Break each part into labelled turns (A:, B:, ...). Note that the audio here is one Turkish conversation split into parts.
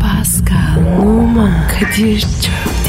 A: Pascal, Oman, Kadir çok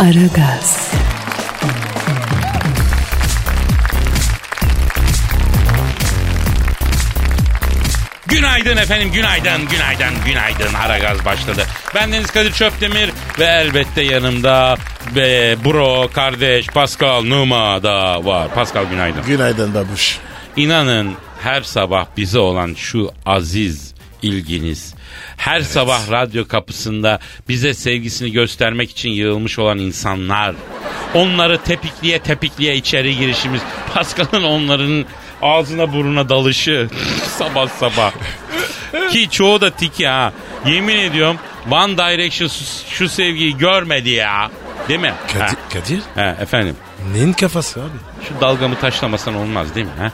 A: Aragaz,
B: Günaydın efendim, günaydın, günaydın, günaydın. Aragaz başladı. Ben Deniz Kadir Çöptemir ve elbette yanımda be, bro, kardeş Pascal Numa da var. Pascal günaydın.
C: Günaydın babuş.
B: İnanın her sabah bize olan şu aziz ilginiz, her sabah radyo kapısında bize sevgisini göstermek için yığılmış olan insanlar, onları tepikliye tepikliye içeri girişimiz, Pascal'ın onların ağzına burnuna dalışı sabah sabah. Ki çoğu da tiki ha. Yemin ediyorum One Direction şu, şu sevgiyi görmedi ya. Değil mi?
C: Kadir,
B: Ha,
C: Kadir
B: ha, efendim.
C: neyin kafası abi?
B: Şu dalgamı taşlamasan olmaz değil mi? Ha?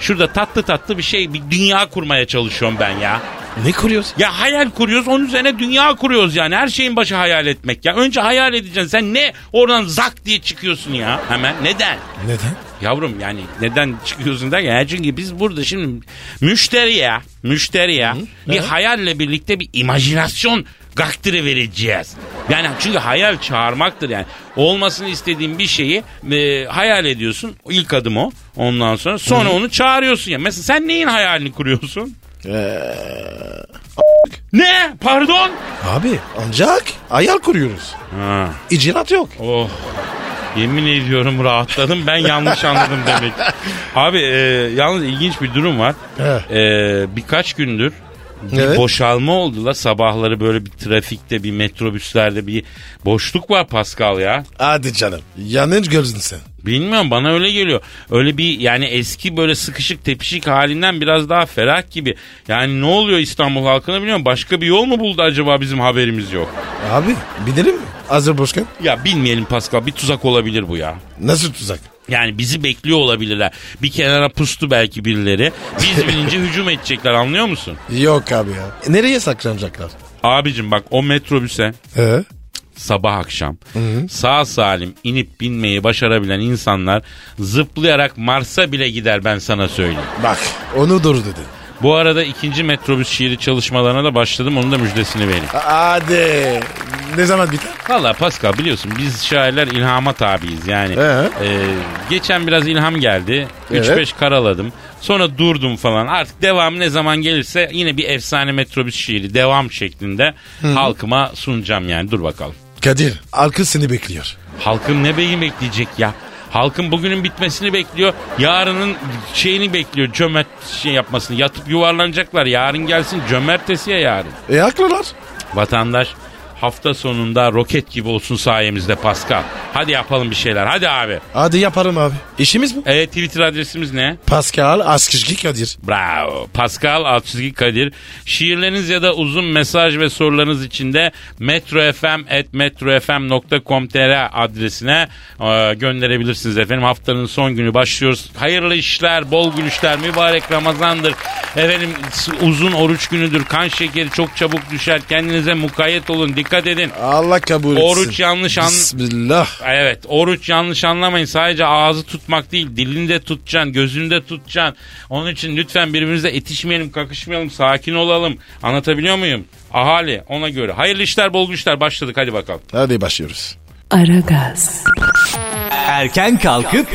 B: Şurada tatlı tatlı bir şey, bir dünya kurmaya çalışıyorum ben ya.
C: Ne kuruyorsun?
B: Ya hayal kuruyoruz, onun üzerine dünya kuruyoruz yani. Her şeyin başı hayal etmek ya. Önce hayal edeceksin. Sen ne oradan zak diye çıkıyorsun ya hemen. Neden?
C: Neden?
B: Yavrum yani neden çıkıyorsun derken ya çünkü biz burada şimdi müşteri ya müşteri ya bir hayalle birlikte bir imajinasyon gaktırı vereceğiz. Yani çünkü hayal çağırmaktır yani. Olmasını istediğin bir şeyi e, hayal ediyorsun. O İlk adım o. Ondan sonra sonra onu çağırıyorsun ya. Mesela sen neyin hayalini kuruyorsun? ne? Pardon?
C: Abi ancak ayar kuruyoruz.
B: Ha.
C: İcraat yok.
B: Oh. Yemin ediyorum rahatladım. Ben yanlış anladım demek. Abi e, yalnız ilginç bir durum var.
C: He.
B: E, birkaç gündür bir
C: Evet.
B: boşalma oldu la. Sabahları böyle bir trafikte, bir metrobüslerde bir boşluk var Pascal ya.
C: Hadi canım. Yanlış gördün sen.
B: Bilmiyorum bana öyle geliyor. Öyle bir yani eski böyle sıkışık tepişik halinden biraz daha ferah gibi. Yani ne oluyor İstanbul halkına bilmiyorum. Başka bir yol mu buldu acaba bizim haberimiz yok.
C: Abi binelim mi? Hazır boşken.
B: Ya bilmeyelim Pascal bir tuzak olabilir bu ya.
C: Nasıl tuzak?
B: Yani bizi bekliyor olabilirler. Bir kenara pustu belki birileri. Biz bilince hücum edecekler anlıyor musun?
C: Yok abi ya. E, Nereye saklanacaklar?
B: Abicim bak o metrobüse
C: He?
B: sabah akşam sağ salim inip binmeyi başarabilen insanlar zıplayarak Mars'a bile gider ben sana söyleyeyim.
C: Bak onu doğru dedin.
B: Bu arada ikinci metrobüs şiiri çalışmalarına da başladım onun da müjdesini vereyim.
C: Hadi. Ne zaman biter?
B: Valla Pascal biliyorsun biz şairler ilhama tabiiz yani.
C: Ee?
B: Ee, geçen biraz ilham geldi. 3-5
C: Evet.
B: karaladım. Sonra durdum falan. Artık devamı ne zaman gelirse yine bir efsane metrobüs şiiri devam şeklinde halkıma sunacağım yani. Dur bakalım.
C: Kadir. Halkı seni bekliyor.
B: Halkın ne beyi bekleyecek ya? Halkın bugünün bitmesini bekliyor. Yarının şeyini bekliyor. Cömert şey yapmasını. Yatıp yuvarlanacaklar. Yarın gelsin cömertesiye yarın.
C: E haklılar.
B: Vatandaş hafta sonunda roket gibi olsun sayemizde Pascal. Hadi yapalım bir şeyler. Hadi abi.
C: Hadi yaparım abi. İşimiz bu.
B: E, Twitter adresimiz ne?
C: Pascal Askışki Kadir.
B: Bravo. Pascal Altçizgi Kadir. Şiirleriniz ya da uzun mesaj ve sorularınız için de metrofm.metrofm.com.tr adresine e, gönderebilirsiniz efendim. Haftanın son günü başlıyoruz. Hayırlı işler, bol gülüşler, mübarek Ramazan'dır. Efendim s- uzun oruç günüdür. Kan şekeri çok çabuk düşer. Kendinize mukayyet olun. Dikkat edin.
C: Allah kabul etsin.
B: Oruç yanlış an-
C: Bismillah.
B: Evet oruç yanlış anlamayın sadece ağzı tutmak değil dilini de tutacaksın gözünü de tutacaksın. Onun için lütfen birbirimize itişmeyelim kakışmayalım sakin olalım anlatabiliyor muyum? Ahali ona göre hayırlı işler bol işler başladık hadi bakalım.
C: Hadi başlıyoruz.
A: Aragaz,
D: Erken kalkıp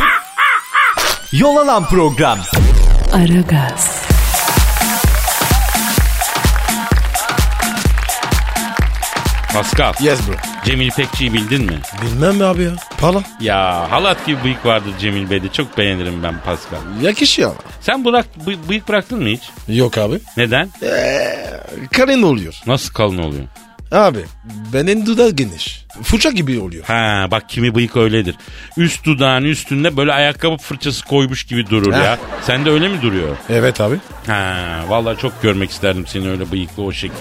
D: yol alan program.
A: Aragaz,
B: Pascal
C: Yes bro.
B: Cemil İpekçi'yi bildin mi?
C: Bilmem mi abi ya? Pala.
B: Ya halat gibi bıyık vardır Cemil Bey'de çok beğenirim ben Pascal.
C: Yakışıyor ama.
B: Sen bırak, bıy- bıyık bıraktın mı hiç?
C: Yok abi.
B: Neden?
C: Karın oluyor.
B: Nasıl kalın oluyor?
C: Abi benim dudağı geniş. Fırça gibi oluyor.
B: Ha bak kimi bıyık öyledir. Üst dudağın üstünde böyle ayakkabı fırçası koymuş gibi durur ya. Sende öyle mi duruyor?
C: Evet abi.
B: Ha vallahi çok görmek isterdim seni öyle bıyıklı o şekilde.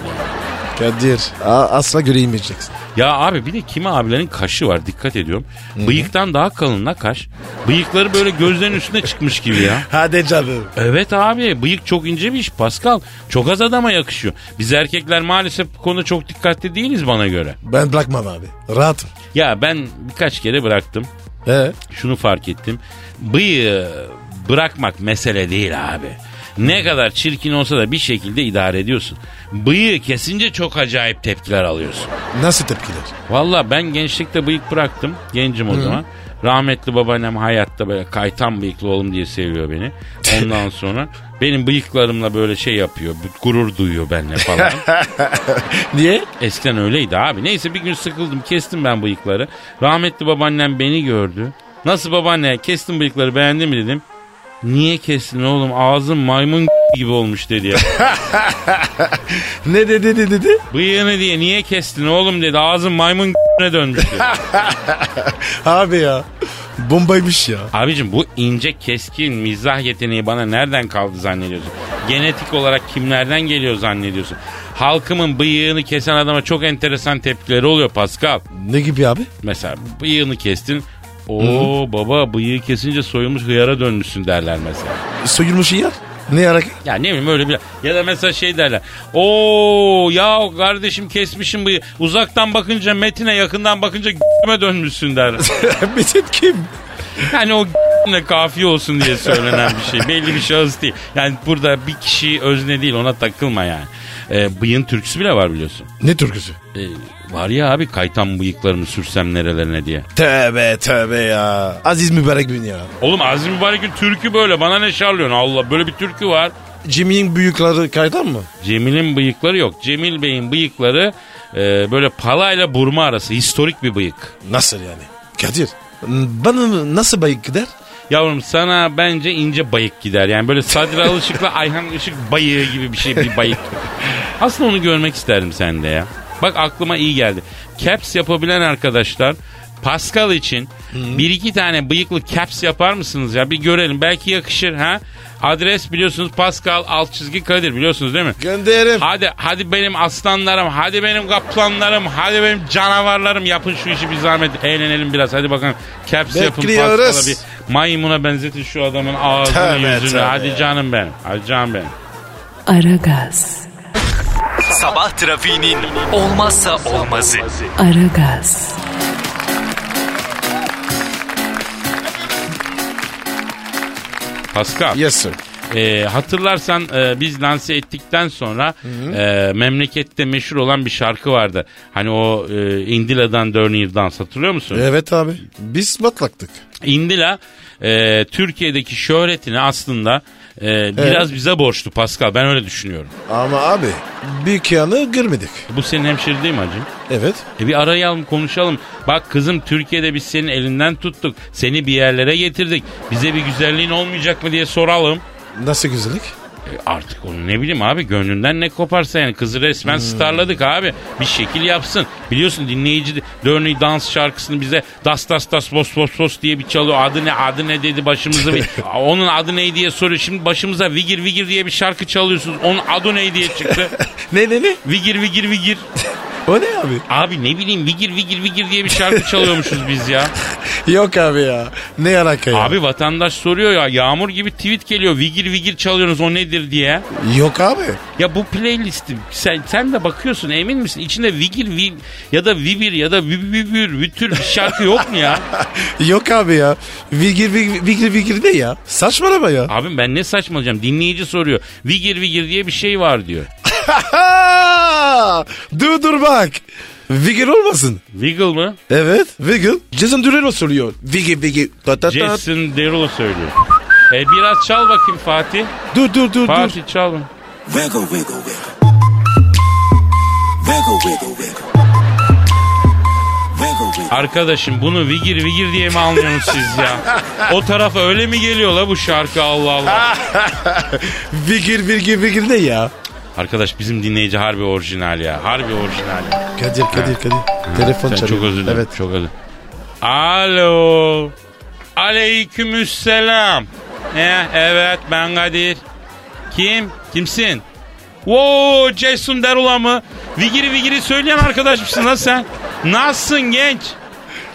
C: Kadir a- asla göremeyeceksin.
B: Ya abi bir de kimi abilerin kaşı var dikkat ediyorum. Bıyıktan daha kalın la kaş. Bıyıkları böyle gözlerin üstüne çıkmış gibi ya.
C: Hadi canım.
B: Evet abi bıyık çok ince bir iş Pascal. Çok az adama yakışıyor. Biz erkekler maalesef bu konuda çok dikkatli değiliz bana göre.
C: Ben bırakmam abi. Rahatım.
B: Ya ben birkaç kere bıraktım.
C: He.
B: Şunu fark ettim. Bıyığı bırakmak mesele değil abi. Ne kadar çirkin olsa da bir şekilde idare ediyorsun. Bıyığı kesince çok acayip tepkiler alıyorsun.
C: Nasıl tepkiler?
B: Valla ben gençlikte bıyık bıraktım. Gencim o zaman. Rahmetli babaannem hayatta böyle kaytan bıyıklı oğlum diye seviyor beni. Ondan sonra benim bıyıklarımla böyle şey yapıyor. Gurur duyuyor benimle falan.
C: Niye?
B: Eskiden öyleydi abi. Neyse bir gün sıkıldım kestim ben bıyıkları. Rahmetli babaannem beni gördü. Nasıl babaanne kestin bıyıkları beğendin mi dedim. Niye kestin oğlum ağzın maymun gibi olmuş dedi ya.
C: Ne dedi dedi dedi?
B: Bıyığını diye niye kestin oğlum dedi ağzın maymun dönmüş dedi.
C: Abi ya. Bombaymış ya.
B: Abicim bu ince keskin mizah yeteneği bana nereden kaldı zannediyorsun? Genetik olarak kimlerden geliyor zannediyorsun? Halkımın bıyığını kesen adama çok enteresan tepkileri oluyor Pascal.
C: Ne gibi abi?
B: Mesela bıyığını kestin. Oo baba bıyığı kesince soyulmuş hıyara dönmüşsün derler mesela.
C: Soyulmuş yer. Ne hareket?
B: Ya ne bileyim öyle bir ya da mesela şey derler. Oo ya kardeşim kesmişim bıyığı. Uzaktan bakınca metine yakından bakınca g***me dönmüşsün derler.
C: Mesut kim?
B: Yani o ne kafi olsun diye söylenen bir şey. Belli bir şahıs değil. Yani burada bir kişi özne değil ona takılma yani. Ee, bıyığın türküsü bile var biliyorsun.
C: Ne türküsü?
B: Ee, var ya abi kaytan bıyıklarımı sürsem nerelerine diye.
C: Tövbe tövbe ya. Aziz mübarek gün ya.
B: Oğlum Aziz Mübarek'in türkü böyle bana ne şarlıyorsun Allah böyle bir türkü var.
C: Jimmy'in büyükleri kaydan mı?
B: Cemil'in bıyıkları yok. Cemil Bey'in bıyıkları e, böyle palayla burma arası historik bir bıyık.
C: Nasıl yani? Kadir. m, Bana nasıl bayık gider?
B: Yavrum sana bence ince bayık gider. Yani böyle Sadri Alışık'la Ayhan Işık bayığı gibi bir şey bir bayık. Aslında onu görmek isterdim sende ya. Bak aklıma iyi geldi. Caps yapabilen arkadaşlar Pascal için bir iki tane bıyıklı caps yapar mısınız ya? Bir görelim. Belki yakışır ha. Adres biliyorsunuz Pascal alt çizgi Kadir biliyorsunuz değil mi?
C: Gönderim.
B: Hadi hadi benim aslanlarım, hadi benim kaplanlarım, hadi benim canavarlarım yapın şu işi bir zahmet. Eğlenelim biraz hadi bakalım. Caps yapın
C: Bekliyoruz.
B: paskala bir maymuna benzetin şu adamın ağzını
C: Tövbe,
B: yüzünü.
C: tövbe.
B: Hadi canım benim, hadi canım benim.
A: Aragaz,
D: Sabah trafiğinin olmazsa olmazı.
A: Aragaz,
B: Pascal,
C: Yes sir.
B: e, hatırlarsan e, biz lanse ettikten sonra e, memlekette meşhur olan bir şarkı vardı. Hani o e, Indila'dan Dörnir Dans hatırlıyor musun?
C: Evet abi. Biz batlaktık.
B: Indila e, Türkiye'deki şöhretini aslında e, biraz bize borçlu Pascal. Ben öyle düşünüyorum.
C: Ama abi büyük yanı görmedik.
B: Bu senin hemşire değil mi hacım?
C: Evet.
B: E bir arayalım konuşalım. Bak kızım Türkiye'de biz senin elinden tuttuk. Seni bir yerlere getirdik. Bize bir güzelliğin olmayacak mı diye soralım.
C: Nasıl güzellik?
B: E artık onu ne bileyim abi gönlünden ne koparsa yani kızı resmen starladık abi. Bir şekil yapsın. Biliyorsun dinleyici de- Dörney dans şarkısını bize das das das bos bos bos diye bir çalıyor. Adı ne adı ne dedi başımıza bir. Onun adı ne diye soruyor. Şimdi başımıza vigir vigir diye bir şarkı çalıyorsunuz. Onun adı ne diye çıktı.
C: Ne ne ne?
B: vigir vigir vigir.
C: O ne abi?
B: Abi ne bileyim vigir vigir vigir diye bir şarkı çalıyormuşuz biz ya.
C: Yok abi ya. Ne alaka ya?
B: Abi vatandaş soruyor ya yağmur gibi tweet geliyor. Vigir vigir çalıyorsunuz o nedir diye.
C: Yok abi.
B: Ya bu playlisti sen sen de bakıyorsun emin misin? İçinde vigir vi, ya da vibir ya da vibir vitür bir şarkı yok mu ya?
C: Yok abi ya. Vigir vigir vigir, vigir ne ya? Saçmalama ya.
B: Abim ben ne saçmalayacağım? Dinleyici soruyor. Vigir vigir diye bir şey var diyor.
C: Ah. dur dur bak. Vigil olmasın.
B: Wiggle mı?
C: Evet. Vigil. Jason Derulo söylüyor. Vigil vigil. Ta ta ta.
B: Jason Derulo söylüyor. E biraz çal bakayım Fatih.
C: Dur dur dur dur.
B: Fatih çal.
E: Wiggle, wiggle, wiggle. Wiggle, wiggle, wiggle. Wiggle, wiggle.
B: Arkadaşım bunu vigir vigir diye mi anlıyorsunuz siz ya? O tarafa öyle mi geliyor la bu şarkı Allah Allah.
C: Vigil vigil vigil ne ya?
B: Arkadaş bizim dinleyici harbi orijinal ya. Harbi orijinal. ya.
C: Kadir Kadir Kadir. Telefon
B: Sen
C: çalıyor.
B: çok özür dilerim.
C: Evet.
B: Çok özür Alo. Aleykümselam. Ne? Evet ben Kadir. Kim? Kimsin? Wow Jason Derulo mı? Vigiri vigiri söyleyen arkadaş mısın lan sen? Nasılsın genç?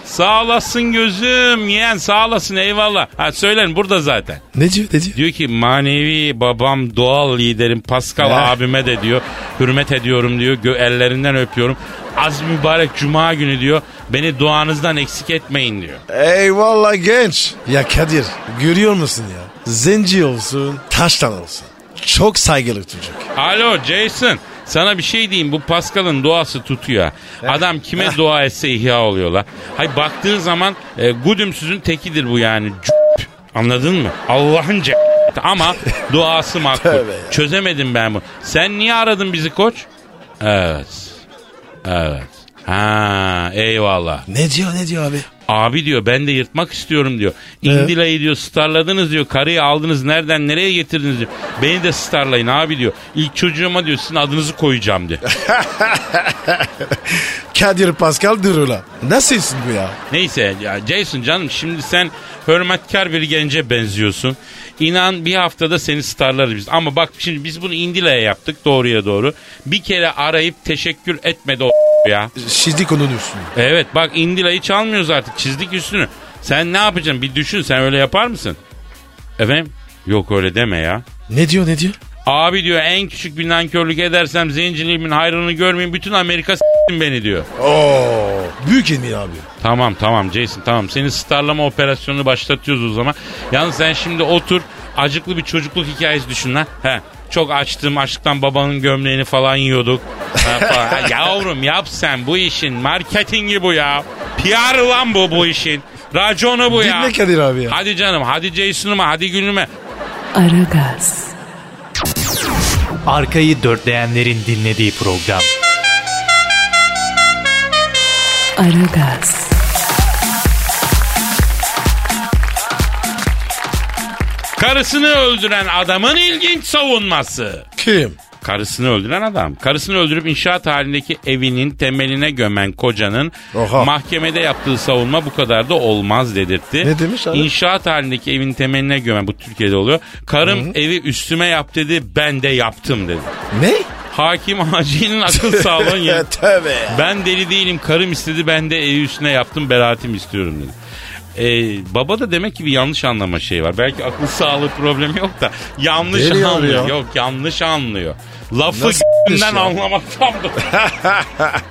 B: Sağ olasın gözüm yeğen sağ olasın eyvallah. Ha söylerim burada zaten.
C: Necip Necip.
B: Diyor ki manevi babam doğal liderim Pascal
C: Eh.
B: abime de diyor. Hürmet ediyorum diyor. Gö- ellerinden öpüyorum. Az mübarek cuma günü diyor. Beni duanızdan eksik etmeyin diyor.
C: Eyvallah genç. Ya Kadir görüyor musun ya? Zenci olsun taştan olsun. Çok saygılı çocuk.
B: Alo Jason. Sana bir şey diyeyim bu Pascal'ın duası tutuyor. ha. Adam kime dua etse ihya oluyor la. Hay baktığın zaman e, güdümsüzün tekidir bu yani. Cüp. Anladın mı? Allah'ın c- ama duası makbul.
C: Tövbe ya.
B: Çözemedim ben bunu. Sen niye aradın bizi koç? Evet. Evet. Ha eyvallah.
C: Ne diyor ne diyor abi?
B: Abi diyor ben de yırtmak istiyorum diyor. Indila'yı diyor starladınız diyor. Karıyı aldınız nereden nereye getirdiniz diyor. Beni de starlayın abi diyor. İlk çocuğuma diyor sizin adınızı koyacağım diyor.
C: Kadir Pascal Durula. Nasılsın bu ya?
B: Neyse ya Jason canım şimdi sen hürmetkar bir gence benziyorsun. İnan bir haftada seni starlarız biz. Ama bak şimdi biz bunu Indila'ya yaptık doğruya doğru. Bir kere arayıp teşekkür etmedi o ya.
C: Şizlik onun üstüne.
B: Evet bak Indila'yı çalmıyoruz artık çizdik üstünü. Sen ne yapacaksın bir düşün sen öyle yapar mısın? Efendim? Yok öyle deme ya.
C: Ne diyor ne diyor?
B: Abi diyor en küçük bir nankörlük edersem zenciliğimin hayrını görmeyin bütün Amerika s**tin beni diyor.
C: Oo, büyük Emir abi.
B: Tamam tamam Jason tamam senin starlama operasyonunu başlatıyoruz o zaman. Yalnız sen şimdi otur acıklı bir çocukluk hikayesi düşün lan. He. Çok açtım açlıktan babanın gömleğini falan yiyorduk. Ha, falan. Ha, Yavrum yap sen bu işin marketingi bu ya. PR lan bu bu işin. Raconu bu ya.
C: Dinle Kadir abi ya.
B: Hadi canım hadi Jason'ıma hadi gülüme.
A: Aragaz,
D: Arkayı dörtleyenlerin dinlediği program.
A: Aragaz,
B: Karısını öldüren adamın ilginç savunması.
C: Kim?
B: Karısını öldüren adam. Karısını öldürüp inşaat halindeki evinin temeline gömen kocanın
C: Oha.
B: mahkemede yaptığı savunma bu kadar da olmaz dedirtti.
C: Ne demiş abi?
B: İnşaat halindeki evin temeline gömen bu Türkiye'de oluyor. Karım evi üstüme yap dedi ben de yaptım dedi.
C: Ne?
B: Hakim Hacı'nın akıl sağlığın ya.
C: Tövbe ya.
B: Ben deli değilim karım istedi ben de evi üstüne yaptım beraatimi istiyorum dedi. Ee, baba da demek ki bir yanlış anlama şey var. Belki akıl sağlığı problemi yok da yanlış
C: Deli yavru
B: anlıyor.
C: ya.
B: Yok yanlış anlıyor. Lafı
C: Nasıl
B: g***den
C: ya?
B: anlamaktan da-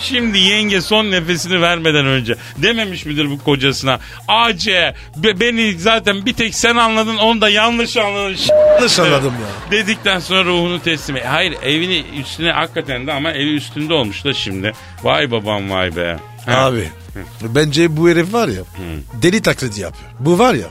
B: Şimdi yenge son nefesini vermeden önce dememiş midir bu kocasına? Ace be- beni zaten bir tek sen anladın onu da yanlış anladın. Ş-
C: Yanlış anladım ya.
B: Dedikten sonra ruhunu teslim et. Hayır evini üstüne hakikaten de ama evi üstünde olmuş da şimdi. Vay babam vay be. Ha.
C: Abi bence bu herif var ya deli taklidi yapıyor. Bu var ya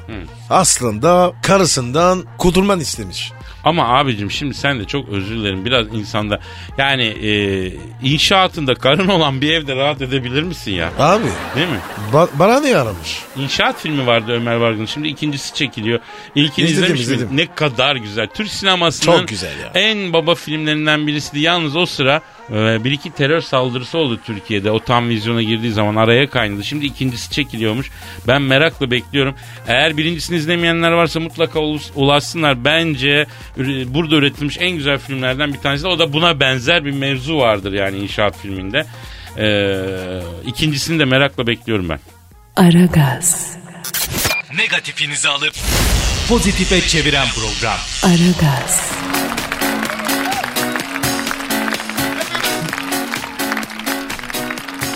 C: aslında karısından kurtulman istemiş.
B: Ama abicim şimdi sen de çok özür dilerim. Biraz insanda yani e, inşaatında karın olan bir evde rahat edebilir misin ya?
C: Abi
B: Değil mi?
C: ba- bana ne yaramış?
B: İnşaat filmi vardı Ömer Vargın'ın. Şimdi ikincisi çekiliyor. İlkini
C: İzledim,
B: izlemiş
C: izledim.
B: miydin? Ne kadar güzel. Türk sinemasının
C: Çok güzel ya.
B: en baba filmlerinden birisiydi. Yalnız o sıra e, bir iki terör saldırısı oldu Türkiye'de. O tam vizyona girdiği zaman araya kaynadı. Şimdi ikincisi çekiliyormuş. Ben merakla bekliyorum. Eğer birincisini izlemeyenler varsa mutlaka ulus- ulaşsınlar. Bence üre- burada üretilmiş en güzel filmlerden bir tanesi de. O da buna benzer bir mevzu vardır yani inşaat filminde. E, ikincisini de merakla bekliyorum ben.
A: Aragaz,
D: Negatifinizi alıp pozitife çeviren program.
A: Aragaz,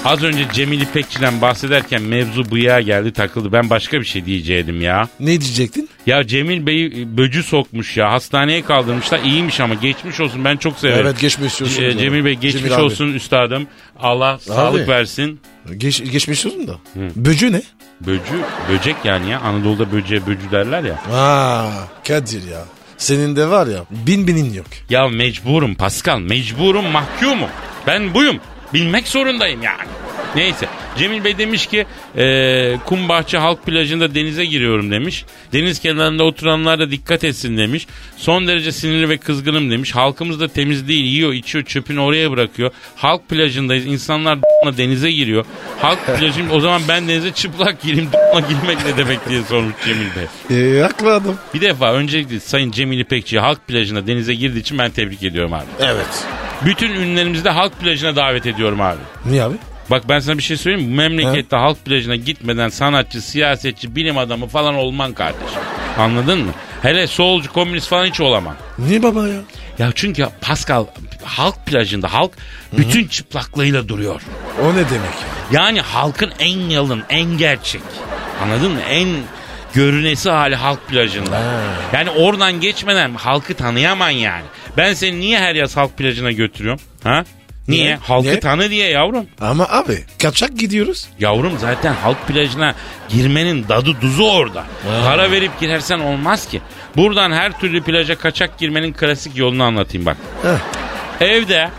B: Az önce Cemil İpekçi'den bahsederken mevzu bıyığa geldi takıldı. Ben başka bir şey diyeceydim ya.
C: Ne diyecektin?
B: Ya Cemil Bey'i böcü sokmuş ya. Hastaneye kaldırmışlar. İyiymiş ama geçmiş olsun. Ben çok severim.
C: Evet, geçmiş olsun.
B: Ee, Cemil Bey geçmiş
C: Cemil abi.
B: olsun üstadım. Allah sağlık versin.
C: Geç, geçmiş olsun da. Böcü ne?
B: Böcü, böcek yani ya. Anadolu'da böceğe böcü derler ya.
C: Aa, Kadir ya. Senin de var ya bin binin yok.
B: Ya mecburum Pascal, mecburum mahkumum. Ben buyum. Bilmek zorundayım yani. Neyse. Cemil Bey demiş ki e, Kumbahçe Halk Plajı'nda denize giriyorum demiş. Deniz kenarında oturanlar da dikkat etsin demiş. Son derece sinirli ve kızgınım demiş. Halkımız da temiz değil. Yiyor, içiyor, çöpünü oraya bırakıyor. Halk plajındayız. İnsanlar d***la denize giriyor. Halk plajı o zaman ben denize çıplak gireyim d***la girmek ne demek diye sormuş Cemil Bey.
C: Ee, haklı adam.
B: Bir defa öncelikle Sayın Cemil İpekçi halk plajına denize girdiği için ben tebrik ediyorum abi.
C: Evet.
B: Bütün ünlerimizde halk plajına davet ediyorum abi.
C: Niye abi?
B: Bak ben sana bir şey söyleyeyim mi? Bu memlekette halk plajına gitmeden sanatçı, siyasetçi, bilim adamı falan olman kardeşim. Anladın mı? Hele solcu, komünist falan hiç olamam.
C: Niye baba ya?
B: Ya çünkü Pascal halk plajında halk bütün çıplaklığıyla duruyor.
C: O ne demek ya?
B: Yani halkın en yalın, en gerçek. Anladın mı? En görünesi hali halk plajında. Yani oradan geçmeden halkı tanıyaman yani. Ben seni niye her yaz halk plajına götürüyorum? Ha? Niye?
C: Niye?
B: Halkı
C: Niye?
B: tanı diye yavrum.
C: Ama abi kaçak gidiyoruz.
B: Yavrum zaten halk plajına girmenin dadı duzu orada. Para verip girersen olmaz ki. Buradan her türlü plaja kaçak girmenin klasik yolunu anlatayım bak.
C: Heh.
B: Evde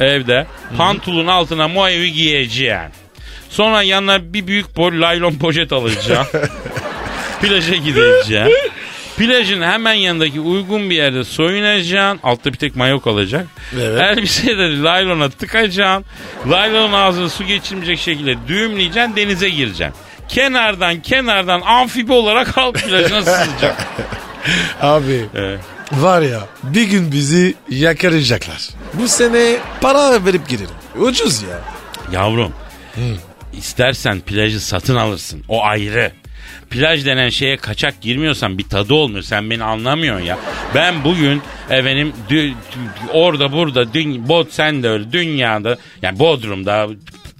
B: evde pantolonun altına muayevi giyeceğim. Sonra yanına bir büyük boy laylon poşet alacağım. Plaja gideceğim. Plajın hemen yanındaki uygun bir yerde soyunacaksın. Altta bir tek mayok alacak.
C: Evet.
B: Elbiseleri laylona tıkacaksın. Laylonun ağzını su geçirmeyecek şekilde düğümleyeceksin. Denize gireceksin. Kenardan kenardan amfibi olarak halk plajına sızacaksın.
C: Abi
B: Ee,
C: var ya bir gün bizi yakaracaklar. Bu sene para verip girelim. Ucuz ya.
B: Yavrum istersen plajı satın alırsın o ayrı. Plaj denen şeye kaçak girmiyorsan bir tadı olmuyor. Sen beni anlamıyorsun ya. Ben bugün efendim dü- dü- orada burada dün, bot sen de öyle dünyada yani Bodrum'da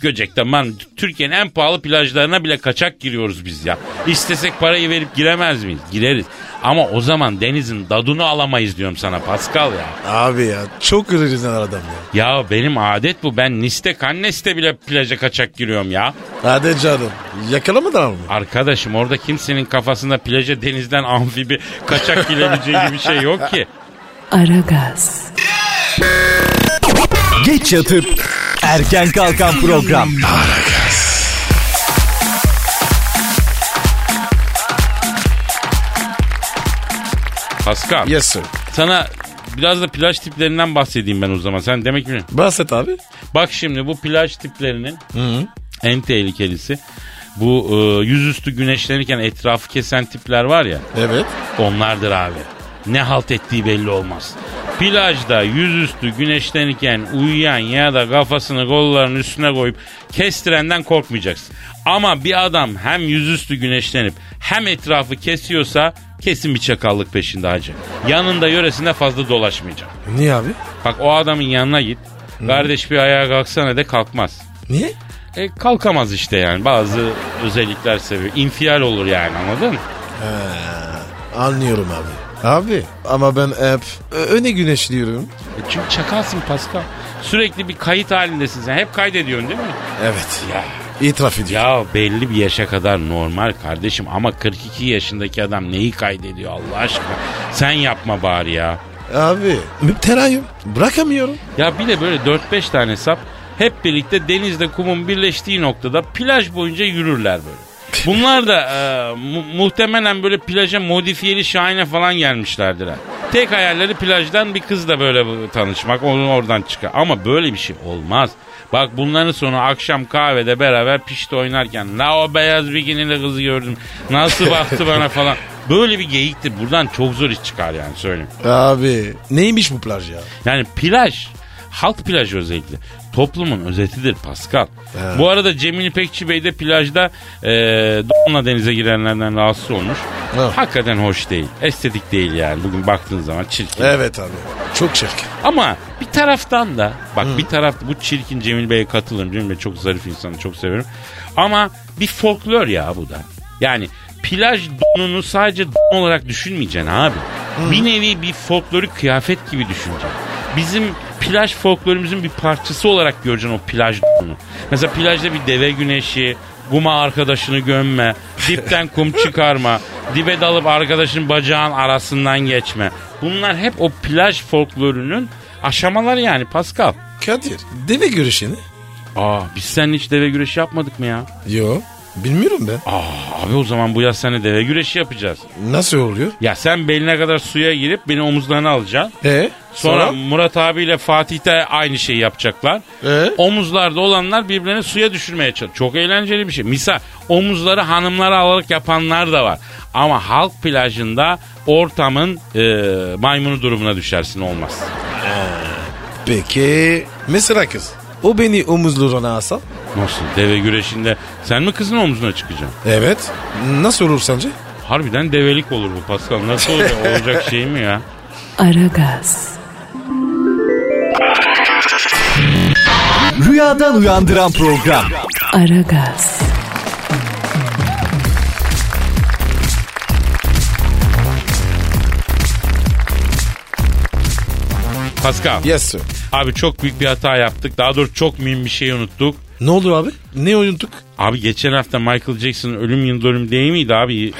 B: Göcek'te man Türkiye'nin en pahalı plajlarına bile kaçak giriyoruz biz ya. İstesek parayı verip giremez miyiz? Gireriz. Ama o zaman denizin dadını alamayız diyorum sana Pascal ya.
C: Abi ya çok ürünler adam ya.
B: Ya benim adet bu. Ben Niste Cannes'te bile plaja kaçak giriyorum ya.
C: Hadi canım yakalamadan mı?
B: Arkadaşım orada kimsenin kafasında plaja denizden amfibi kaçak girebileceği gibi bir şey yok ki.
A: Aragaz,
D: Geç yatıp erken kalkan program.
B: Pascal
C: Yes sir.
B: sana biraz da plaj tiplerinden bahsedeyim ben o zaman. Sen demek ki
C: Bahset abi.
B: Bak şimdi bu plaj tiplerinin en tehlikelisi bu e, yüzüstü güneşlenirken etrafı kesen tipler var ya.
C: Evet.
B: Onlardır abi. Ne halt ettiği belli olmaz. Plajda yüzüstü güneşlenirken uyuyan ya da kafasını kollarının üstüne koyup kestirenden korkmayacaksın. Ama bir adam hem yüzüstü güneşlenip hem etrafı kesiyorsa kesin bir çakallık peşinde hacı. Yanında yöresinde fazla dolaşmayacak.
C: Niye abi?
B: Bak o adamın yanına git. Kardeş bir ayağa kalksana de kalkmaz.
C: Niye?
B: E, kalkamaz işte yani bazı özellikler seviyor. İnfial olur yani anladın mı?
C: Anlıyorum abi. Abi ama ben hep ö- öne güneşliyorum.
B: E Çünkü çakalsın Pascal. Sürekli bir kayıt halindesin sen. Hep kaydediyorsun değil mi?
C: Evet.
B: Ya.
C: İtiraf ediyorum.
B: Ya belli bir yaşa kadar normal kardeşim ama 42 yaşındaki adam neyi kaydediyor Allah aşkına? Sen yapma bari ya.
C: Abi müptelayım. Bırakamıyorum.
B: Ya bir de böyle 4-5 tane sap hep birlikte denizde kumun birleştiği noktada plaj boyunca yürürler böyle. Bunlar da e, mu- muhtemelen böyle plaja modifiyeli şahine falan gelmişlerdir. ha. Tek hayalleri plajdan bir kızla böyle bu- tanışmak, onu oradan çıkar. Ama böyle bir şey olmaz. Bak bunların sonu akşam kahvede beraber pişti oynarken la o beyaz bikinili kızı gördüm. Nasıl baktı bana falan. Böyle bir geyiktir. Buradan çok zor iş çıkar yani söyleyeyim.
C: Abi neymiş bu plaj ya?
B: Yani plaj, halk plajı özellikle toplumun özetidir Pascal.
C: Evet.
B: Bu arada Cemil İpekçi Bey de plajda e, donla denize girenlerden rahatsız olmuş.
C: Evet.
B: Hakikaten hoş değil. Estetik değil yani. Bugün baktığın zaman çirkin.
C: Evet abi. Çok çirkin.
B: Ama bir taraftan da bak bir taraf bu çirkin Cemil Bey'e katılırım. Cemil Bey çok zarif insanı çok severim. Ama bir folklor ya bu da. Yani plaj donunu sadece don olarak düşünmeyeceksin abi. Bir nevi bir folklorik kıyafet gibi düşüneceksin. Bizim plaj folklorumuzun bir parçası olarak göreceksin o plaj donunu. Mesela plajda bir deve güneşi, guma arkadaşını gömme, dipten kum çıkarma, dibe dalıp arkadaşın bacağın arasından geçme. Bunlar hep o plaj folklorunun aşamaları yani Pascal.
C: Kadir deve görüşeni?
B: Aa biz seninle hiç deve güreşi yapmadık mı ya?
C: Yo. Bilmiyorum ben.
B: Aa abi o zaman bu yaz seninle deve güreşi yapacağız.
C: Nasıl oluyor?
B: Ya sen beline kadar suya girip beni omuzlarına alacaksın.
C: E
B: Sonra, Murat abiyle Fatih de aynı şeyi yapacaklar.
C: Ee?
B: Omuzlarda olanlar birbirlerini suya düşürmeye çalışıyor. Çok eğlenceli bir şey. Misal omuzları hanımlara alarak yapanlar da var. Ama halk plajında ortamın e, maymunu durumuna düşersin olmaz.
C: Peki mesela kız. O beni omuzlarına asa.
B: Nasıl? Deve güreşinde sen mi kızın omzuna çıkacaksın?
C: Evet. Nasıl olur sence?
B: Harbiden develik olur bu Pascal. Nasıl olacak, olacak şey mi ya?
A: Aragaz,
D: Rüyadan uyandıran program.
A: Aragaz,
B: Pascal.
C: Yes sir.
B: Abi çok büyük bir hata yaptık. Daha doğrusu çok mühim bir şey unuttuk.
C: Ne oldu abi? Ne oyuntuk?
B: Abi geçen hafta Michael Jackson'ın ölüm yıl dönümü değil miydi abi?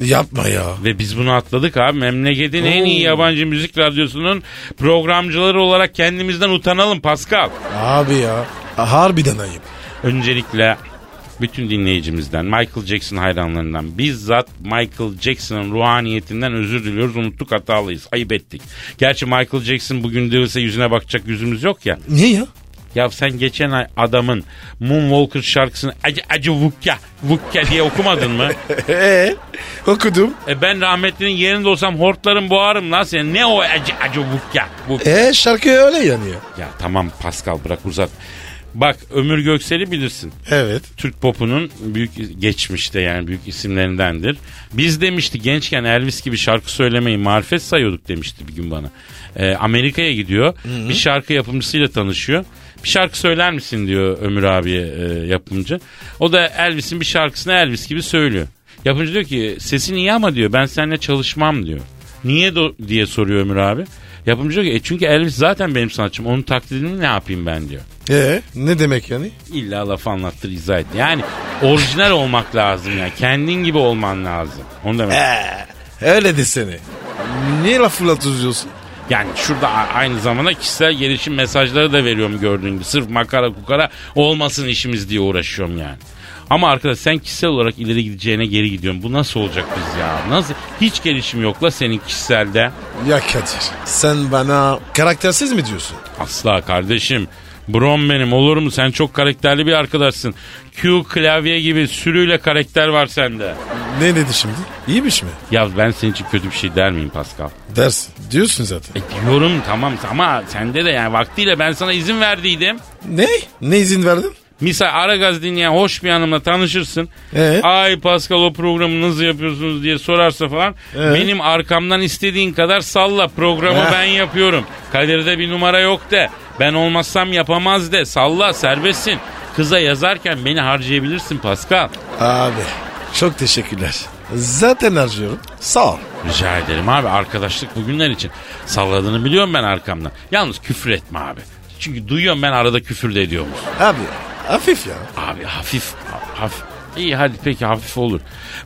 C: Yapma ya.
B: Ve biz bunu atladık abi. Memleketin en iyi yabancı müzik radyosunun programcıları olarak kendimizden utanalım Pascal.
C: Abi ya. Harbiden ayıp.
B: Öncelikle bütün dinleyicimizden, Michael Jackson hayranlarından, bizzat Michael Jackson'ın ruhaniyetinden özür diliyoruz. Unuttuk hatalıyız, ayıp ettik. Gerçi Michael Jackson bugün dirilse yüzüne bakacak yüzümüz yok ya.
C: Niye ya?
B: Ya sen geçen ay adamın Moonwalker şarkısını acı acı vukya vukya diye okumadın mı?
C: Eee? Okudum.
B: E ben rahmetlinin yerinde olsam hortlarım boğarım lan seni. Ne o acı acı vukya vukya.
C: Eee şarkı öyle yanıyor.
B: Ya tamam Pascal bırak uzat. Bak Ömür Göksel'i bilirsin.
C: Evet.
B: Türk popunun büyük geçmişte yani büyük isimlerindendir. Biz demişti gençken Elvis gibi şarkı söylemeyi marifet sayıyorduk demişti bir gün bana. Ee, Amerika'ya gidiyor. Bir şarkı yapımcısıyla tanışıyor. Bir şarkı söyler misin diyor Ömür abiye e, yapımcı. O da Elvis'in bir şarkısını Elvis gibi söylüyor. Yapımcı diyor ki sesin iyi ama diyor ben seninle çalışmam diyor. Niye do- diye soruyor Ömür abi. Yapımcı diyor ki e çünkü Elvis zaten benim sanatçım onun taklidini ne yapayım ben diyor.
C: Eee? Ne demek yani?
B: İlla laf anlattır izah et. Yani orijinal olmak lazım ya. Kendin gibi olman lazım. Onu demek.
C: Eee. Öyle desene. Niye laf fırlatıyorsun?
B: Yani şurada a- aynı zamanda kişisel gelişim mesajları da veriyorum gördüğün gibi. Sırf makara kukara olmasın işimiz diye uğraşıyorum yani. Ama arkadaş sen kişisel olarak ileri gideceğine geri gidiyorsun. Bu nasıl olacak biz ya? Nasıl? Hiç gelişim yok la senin kişiselde.
C: Ya Kadir. Sen bana karaktersiz mi diyorsun?
B: Asla kardeşim. Brom benim olur mu? Sen çok karakterli bir arkadaşsın. Q klavye gibi sürüyle karakter var sende.
C: Ne dedi şimdi? İyiymiş mi?
B: Ya ben senin için kötü bir şey der miyim Pascal?
C: Ders. Diyorsun zaten.
B: E diyorum tamam ama sende de yani vaktiyle ben sana izin verdiydim.
C: Ne? Ne izin verdin?
B: Misal Aragaz dinleyen hoş bir hanımla tanışırsın.
C: Ee?
B: Ay Pascal o programı nasıl yapıyorsunuz diye sorarsa falan.
C: Ee?
B: Benim arkamdan istediğin kadar salla programı
C: Eh.
B: ben yapıyorum. Kadir'de bir numara yok de. Ben olmazsam yapamaz de. Salla serbestsin. Kıza yazarken beni harcayabilirsin Pascal.
C: Abi çok teşekkürler. Zaten harcıyorum. Sağ ol.
B: Rica ederim abi arkadaşlık bugünler için. Salladığını biliyorum ben arkamdan. Yalnız küfür etme abi. Çünkü duyuyorum ben arada küfür de ediyormuş.
C: Abi hafif ya.
B: Abi hafif hafif. İyi hadi peki hafif olur.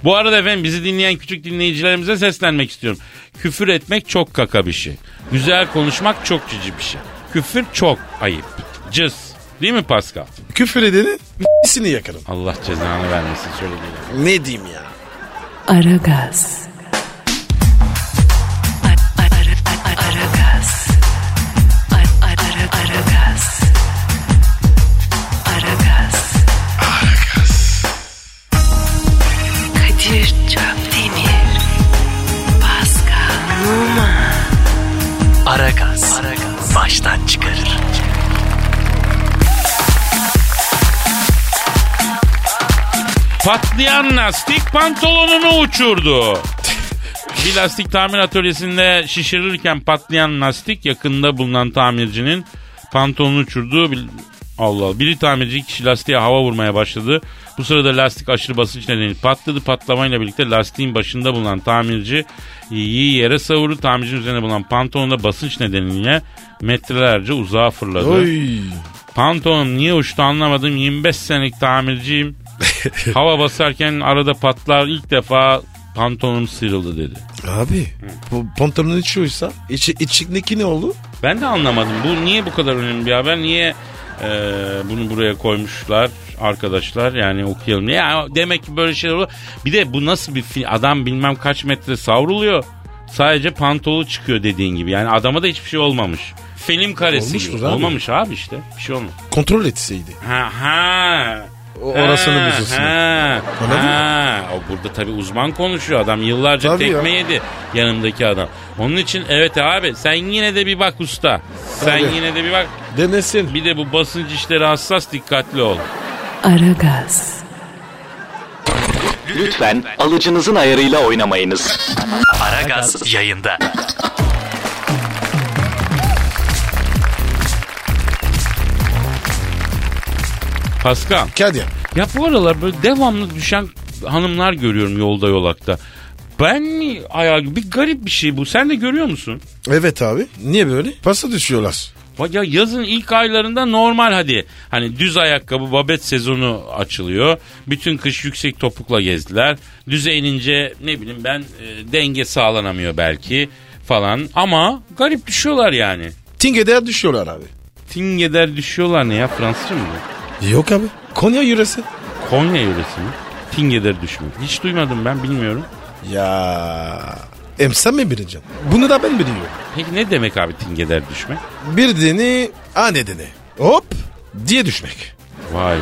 B: Bu arada efendim bizi dinleyen küçük dinleyicilerimize seslenmek istiyorum. Küfür etmek çok kaka bir şey. Güzel konuşmak çok cici bir şey. Küfür çok ayıp. Cız. Değil mi Pascal?
C: Küfür edenin sini yakarım.
B: Allah cezanı vermesin söylediğine.
C: Ne diyeyim ya?
A: Aragaz. Ara- ara- ara- Aragaz. Ara- ara- Aragaz. Aragaz. Kadir Çöpdemir. Pascal Numa.
D: Aragaz. Baştan çıkarır.
B: Patlayan lastik pantolonunu uçurdu. Bir lastik tamir atölyesinde şişirirken patlayan lastik yakında bulunan tamircinin pantolonunu uçurdu. Bir- Allah Allah. Biri tamirci iki kişi lastiğe hava vurmaya başladı. Bu sırada lastik aşırı basınç nedeniyle patladı. Patlamayla birlikte lastiğin başında bulunan tamirci iyi yere savurdu. Tamircinin üzerine bulunan pantolonda basınç nedeniyle metrelerce uzağa fırladı.
C: Oy.
B: Pantolonum niye uçtu anlamadım. 25 senelik tamirciyim. Hava basarken arada patlar ilk defa pantolonum sıyrıldı dedi.
C: Abi bu pantolonun içi oysa içi, içindeki ne oldu?
B: Ben de anlamadım. Bu niye bu kadar önemli bir haber? Niye e, bunu buraya koymuşlar arkadaşlar? Yani okuyalım. diye. Ya demek ki böyle şeyler oluyor. Bir de bu nasıl bir fi- adam bilmem kaç metre savruluyor. Sadece pantolu çıkıyor dediğin gibi. Yani adama da hiçbir şey olmamış. Film karesi. gibi.
C: Olmuştur abi.
B: Olmamış abi işte. Bir şey olmamış.
C: Kontrol etseydi.
B: Ha ha.
C: O- Orasını
B: Ha,
C: buzulsun.
B: Ha,
C: Anladın mı?
B: ha. O burada tabii uzman konuşuyor adam. Yıllarca
C: Tabii
B: tekme
C: ya.
B: yedi yanımdaki adam. Onun için evet abi sen yine de bir bak usta. Sen
C: Tabii.
B: yine de bir bak.
C: Denesin.
B: Bir de bu basınç işleri hassas dikkatli ol.
A: Aragaz,
D: Lütfen alıcınızın ayarıyla oynamayınız. Aragaz yayında.
B: Pascal
C: Kadir.
B: ya bu aralar böyle devamlı düşen hanımlar görüyorum yolda yolakta. Ben mi ayağı bir garip bir şey bu. Sen de görüyor musun?
C: Evet abi. Niye böyle? Pasa düşüyorlar.
B: Bak Ya yazın ilk aylarında normal hadi. Hani düz ayakkabı babet sezonu açılıyor. Bütün kış yüksek topukla gezdiler. Düze inince ne bileyim ben e, denge sağlanamıyor belki falan. Ama garip düşüyorlar yani.
C: Tinge'de düşüyorlar abi.
B: Tingeder düşüyorlar ne ya Fransızca mı? bu?
C: Yok abi. Konya yüresi.
B: Konya yöresi mi? Tingeder düşmek. Hiç duymadım ben bilmiyorum.
C: Ya. Hem sen mi bileceksin? Bunu da ben biliyorum.
B: Peki ne demek abi tingeder düşmek?
C: Bir dini a nedeni. Hop diye düşmek.
B: Vay be.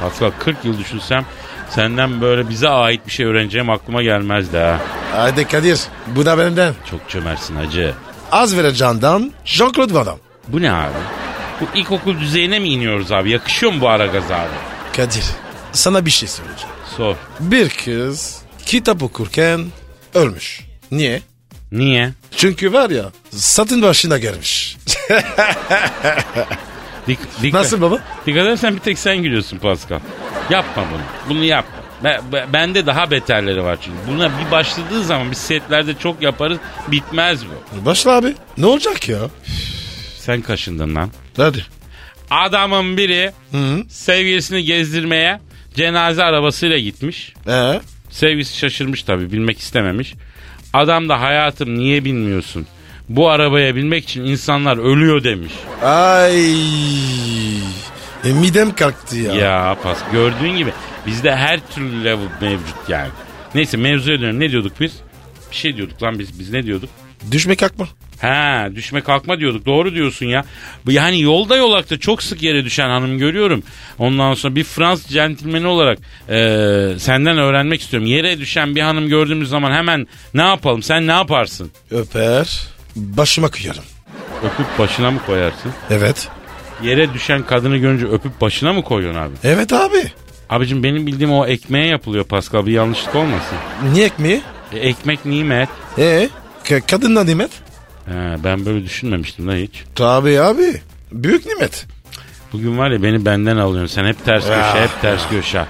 B: Pascal 40 yıl düşünsem senden böyle bize ait bir şey öğreneceğim aklıma gelmezdi ha.
C: Hadi Kadir bu da benden.
B: Çok çömersin hacı.
C: Az vereceğinden Jean-Claude Van Damme.
B: Bu ne abi? Bu ilkokul düzeyine mi iniyoruz abi? Yakışıyor mu bu ara gaz abi?
C: Kadir sana bir şey söyleyeceğim.
B: Sor.
C: Bir kız kitap okurken ölmüş. Niye?
B: Niye?
C: Çünkü var ya satın başına gelmiş.
B: Dik- dikkat-
C: Nasıl baba?
B: Dikkat edersen bir tek sen gülüyorsun Pascal. Yapma bunu. Bunu yapma. Be- be- bende daha beterleri var çünkü. Buna bir başladığı zaman biz setlerde çok yaparız. Bitmez bu.
C: Başla abi. Ne olacak ya?
B: Sen kaşındın lan.
C: Hadi.
B: Adamın biri sevgilisini gezdirmeye cenaze arabasıyla gitmiş.
C: Ee?
B: Sevgisi şaşırmış tabii bilmek istememiş. Adam da hayatım niye bilmiyorsun? Bu arabaya binmek için insanlar ölüyor demiş.
C: Ay. E, midem kalktı ya.
B: Ya pas gördüğün gibi bizde her türlü level mevcut yani. Neyse mevzuya dönelim. Ne diyorduk biz? Bir şey diyorduk lan biz. Biz ne diyorduk?
C: Düşme kalkma.
B: Ha düşme kalkma diyorduk. Doğru diyorsun ya. Bu Yani yolda yolakta çok sık yere düşen hanım görüyorum. Ondan sonra bir Fransız centilmeni olarak e, senden öğrenmek istiyorum. Yere düşen bir hanım gördüğümüz zaman hemen ne yapalım? Sen ne yaparsın?
C: Öper. Başıma kıyarım.
B: Öpüp başına mı koyarsın?
C: Evet.
B: Yere düşen kadını görünce öpüp başına mı koyuyorsun abi?
C: Evet abi.
B: Abicim benim bildiğim o ekmeğe yapılıyor Pascal bir yanlışlık olmasın.
C: Niye ekmeği?
B: E, ekmek nimet.
C: Ee? K- kadın ne nimet?
B: He, ben böyle düşünmemiştim lan hiç.
C: Tabii abi. Büyük nimet.
B: Bugün var ya beni benden alıyorsun sen hep ters köşe hep ters köşe.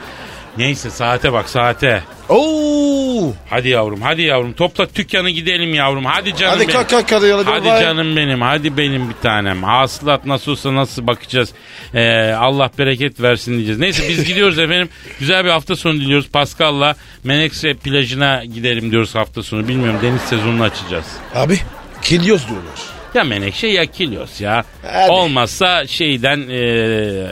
B: Neyse saate bak saate.
C: Oo.
B: Hadi yavrum hadi yavrum topla dükkanı gidelim yavrum hadi canım
C: Hadi
B: benim.
C: kalk kalk hadi.
B: Hadi
C: bay.
B: canım benim, hadi benim bir tanem. Hasılat nasıl olsa nasıl bakacağız. Ee, Allah bereket versin diyeceğiz. Neyse biz gidiyoruz efendim. Güzel bir hafta sonu diliyoruz. Pascal'la Menekşe plajına gidelim diyoruz hafta sonu. Bilmiyorum deniz sezonunu açacağız.
C: Abi. Kilios diyorlar.
B: Ya Menekşe ya Kilyos ya.
C: Abi.
B: Olmazsa şeyden e,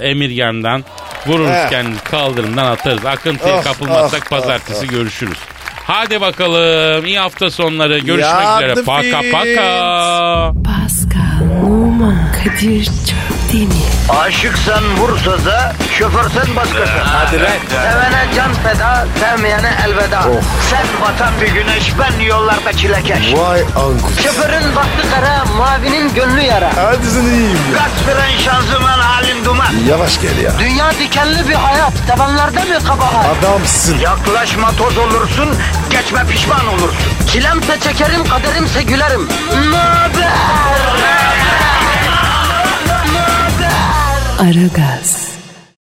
B: Emirgan'dan vururuz
C: Eh.
B: kendimizi kaldırımdan atarız. Akıntıya
C: Of,
B: kapılmazsak
C: of,
B: pazartesi görüşürüz. Hadi bakalım iyi hafta sonları. Görüşmek üzere.
C: Yardım
B: Paka
C: et.
B: paka.
A: Pascal, Oman, Kadir çok değil mi?
F: Aşıksan vursa da, şoförsen başkasın. Hadi Sevene can feda, sevmeyene elveda. Sen batan bir güneş, ben yollarda çilekeş.
C: Vay anku.
F: Şoförün baktı kara, mavinin gönlü yara.
C: Hadi sen iyiyim ya.
F: Kasperen şanzıman halin duman.
C: Yavaş gel ya.
F: Dünya dikenli bir hayat, sevenlerde mi kabahar?
C: Adamsın.
F: Yaklaşma toz olursun, geçme pişman olursun. Çilemse çekerim, kaderimse gülerim. Möber!
A: Aragaz.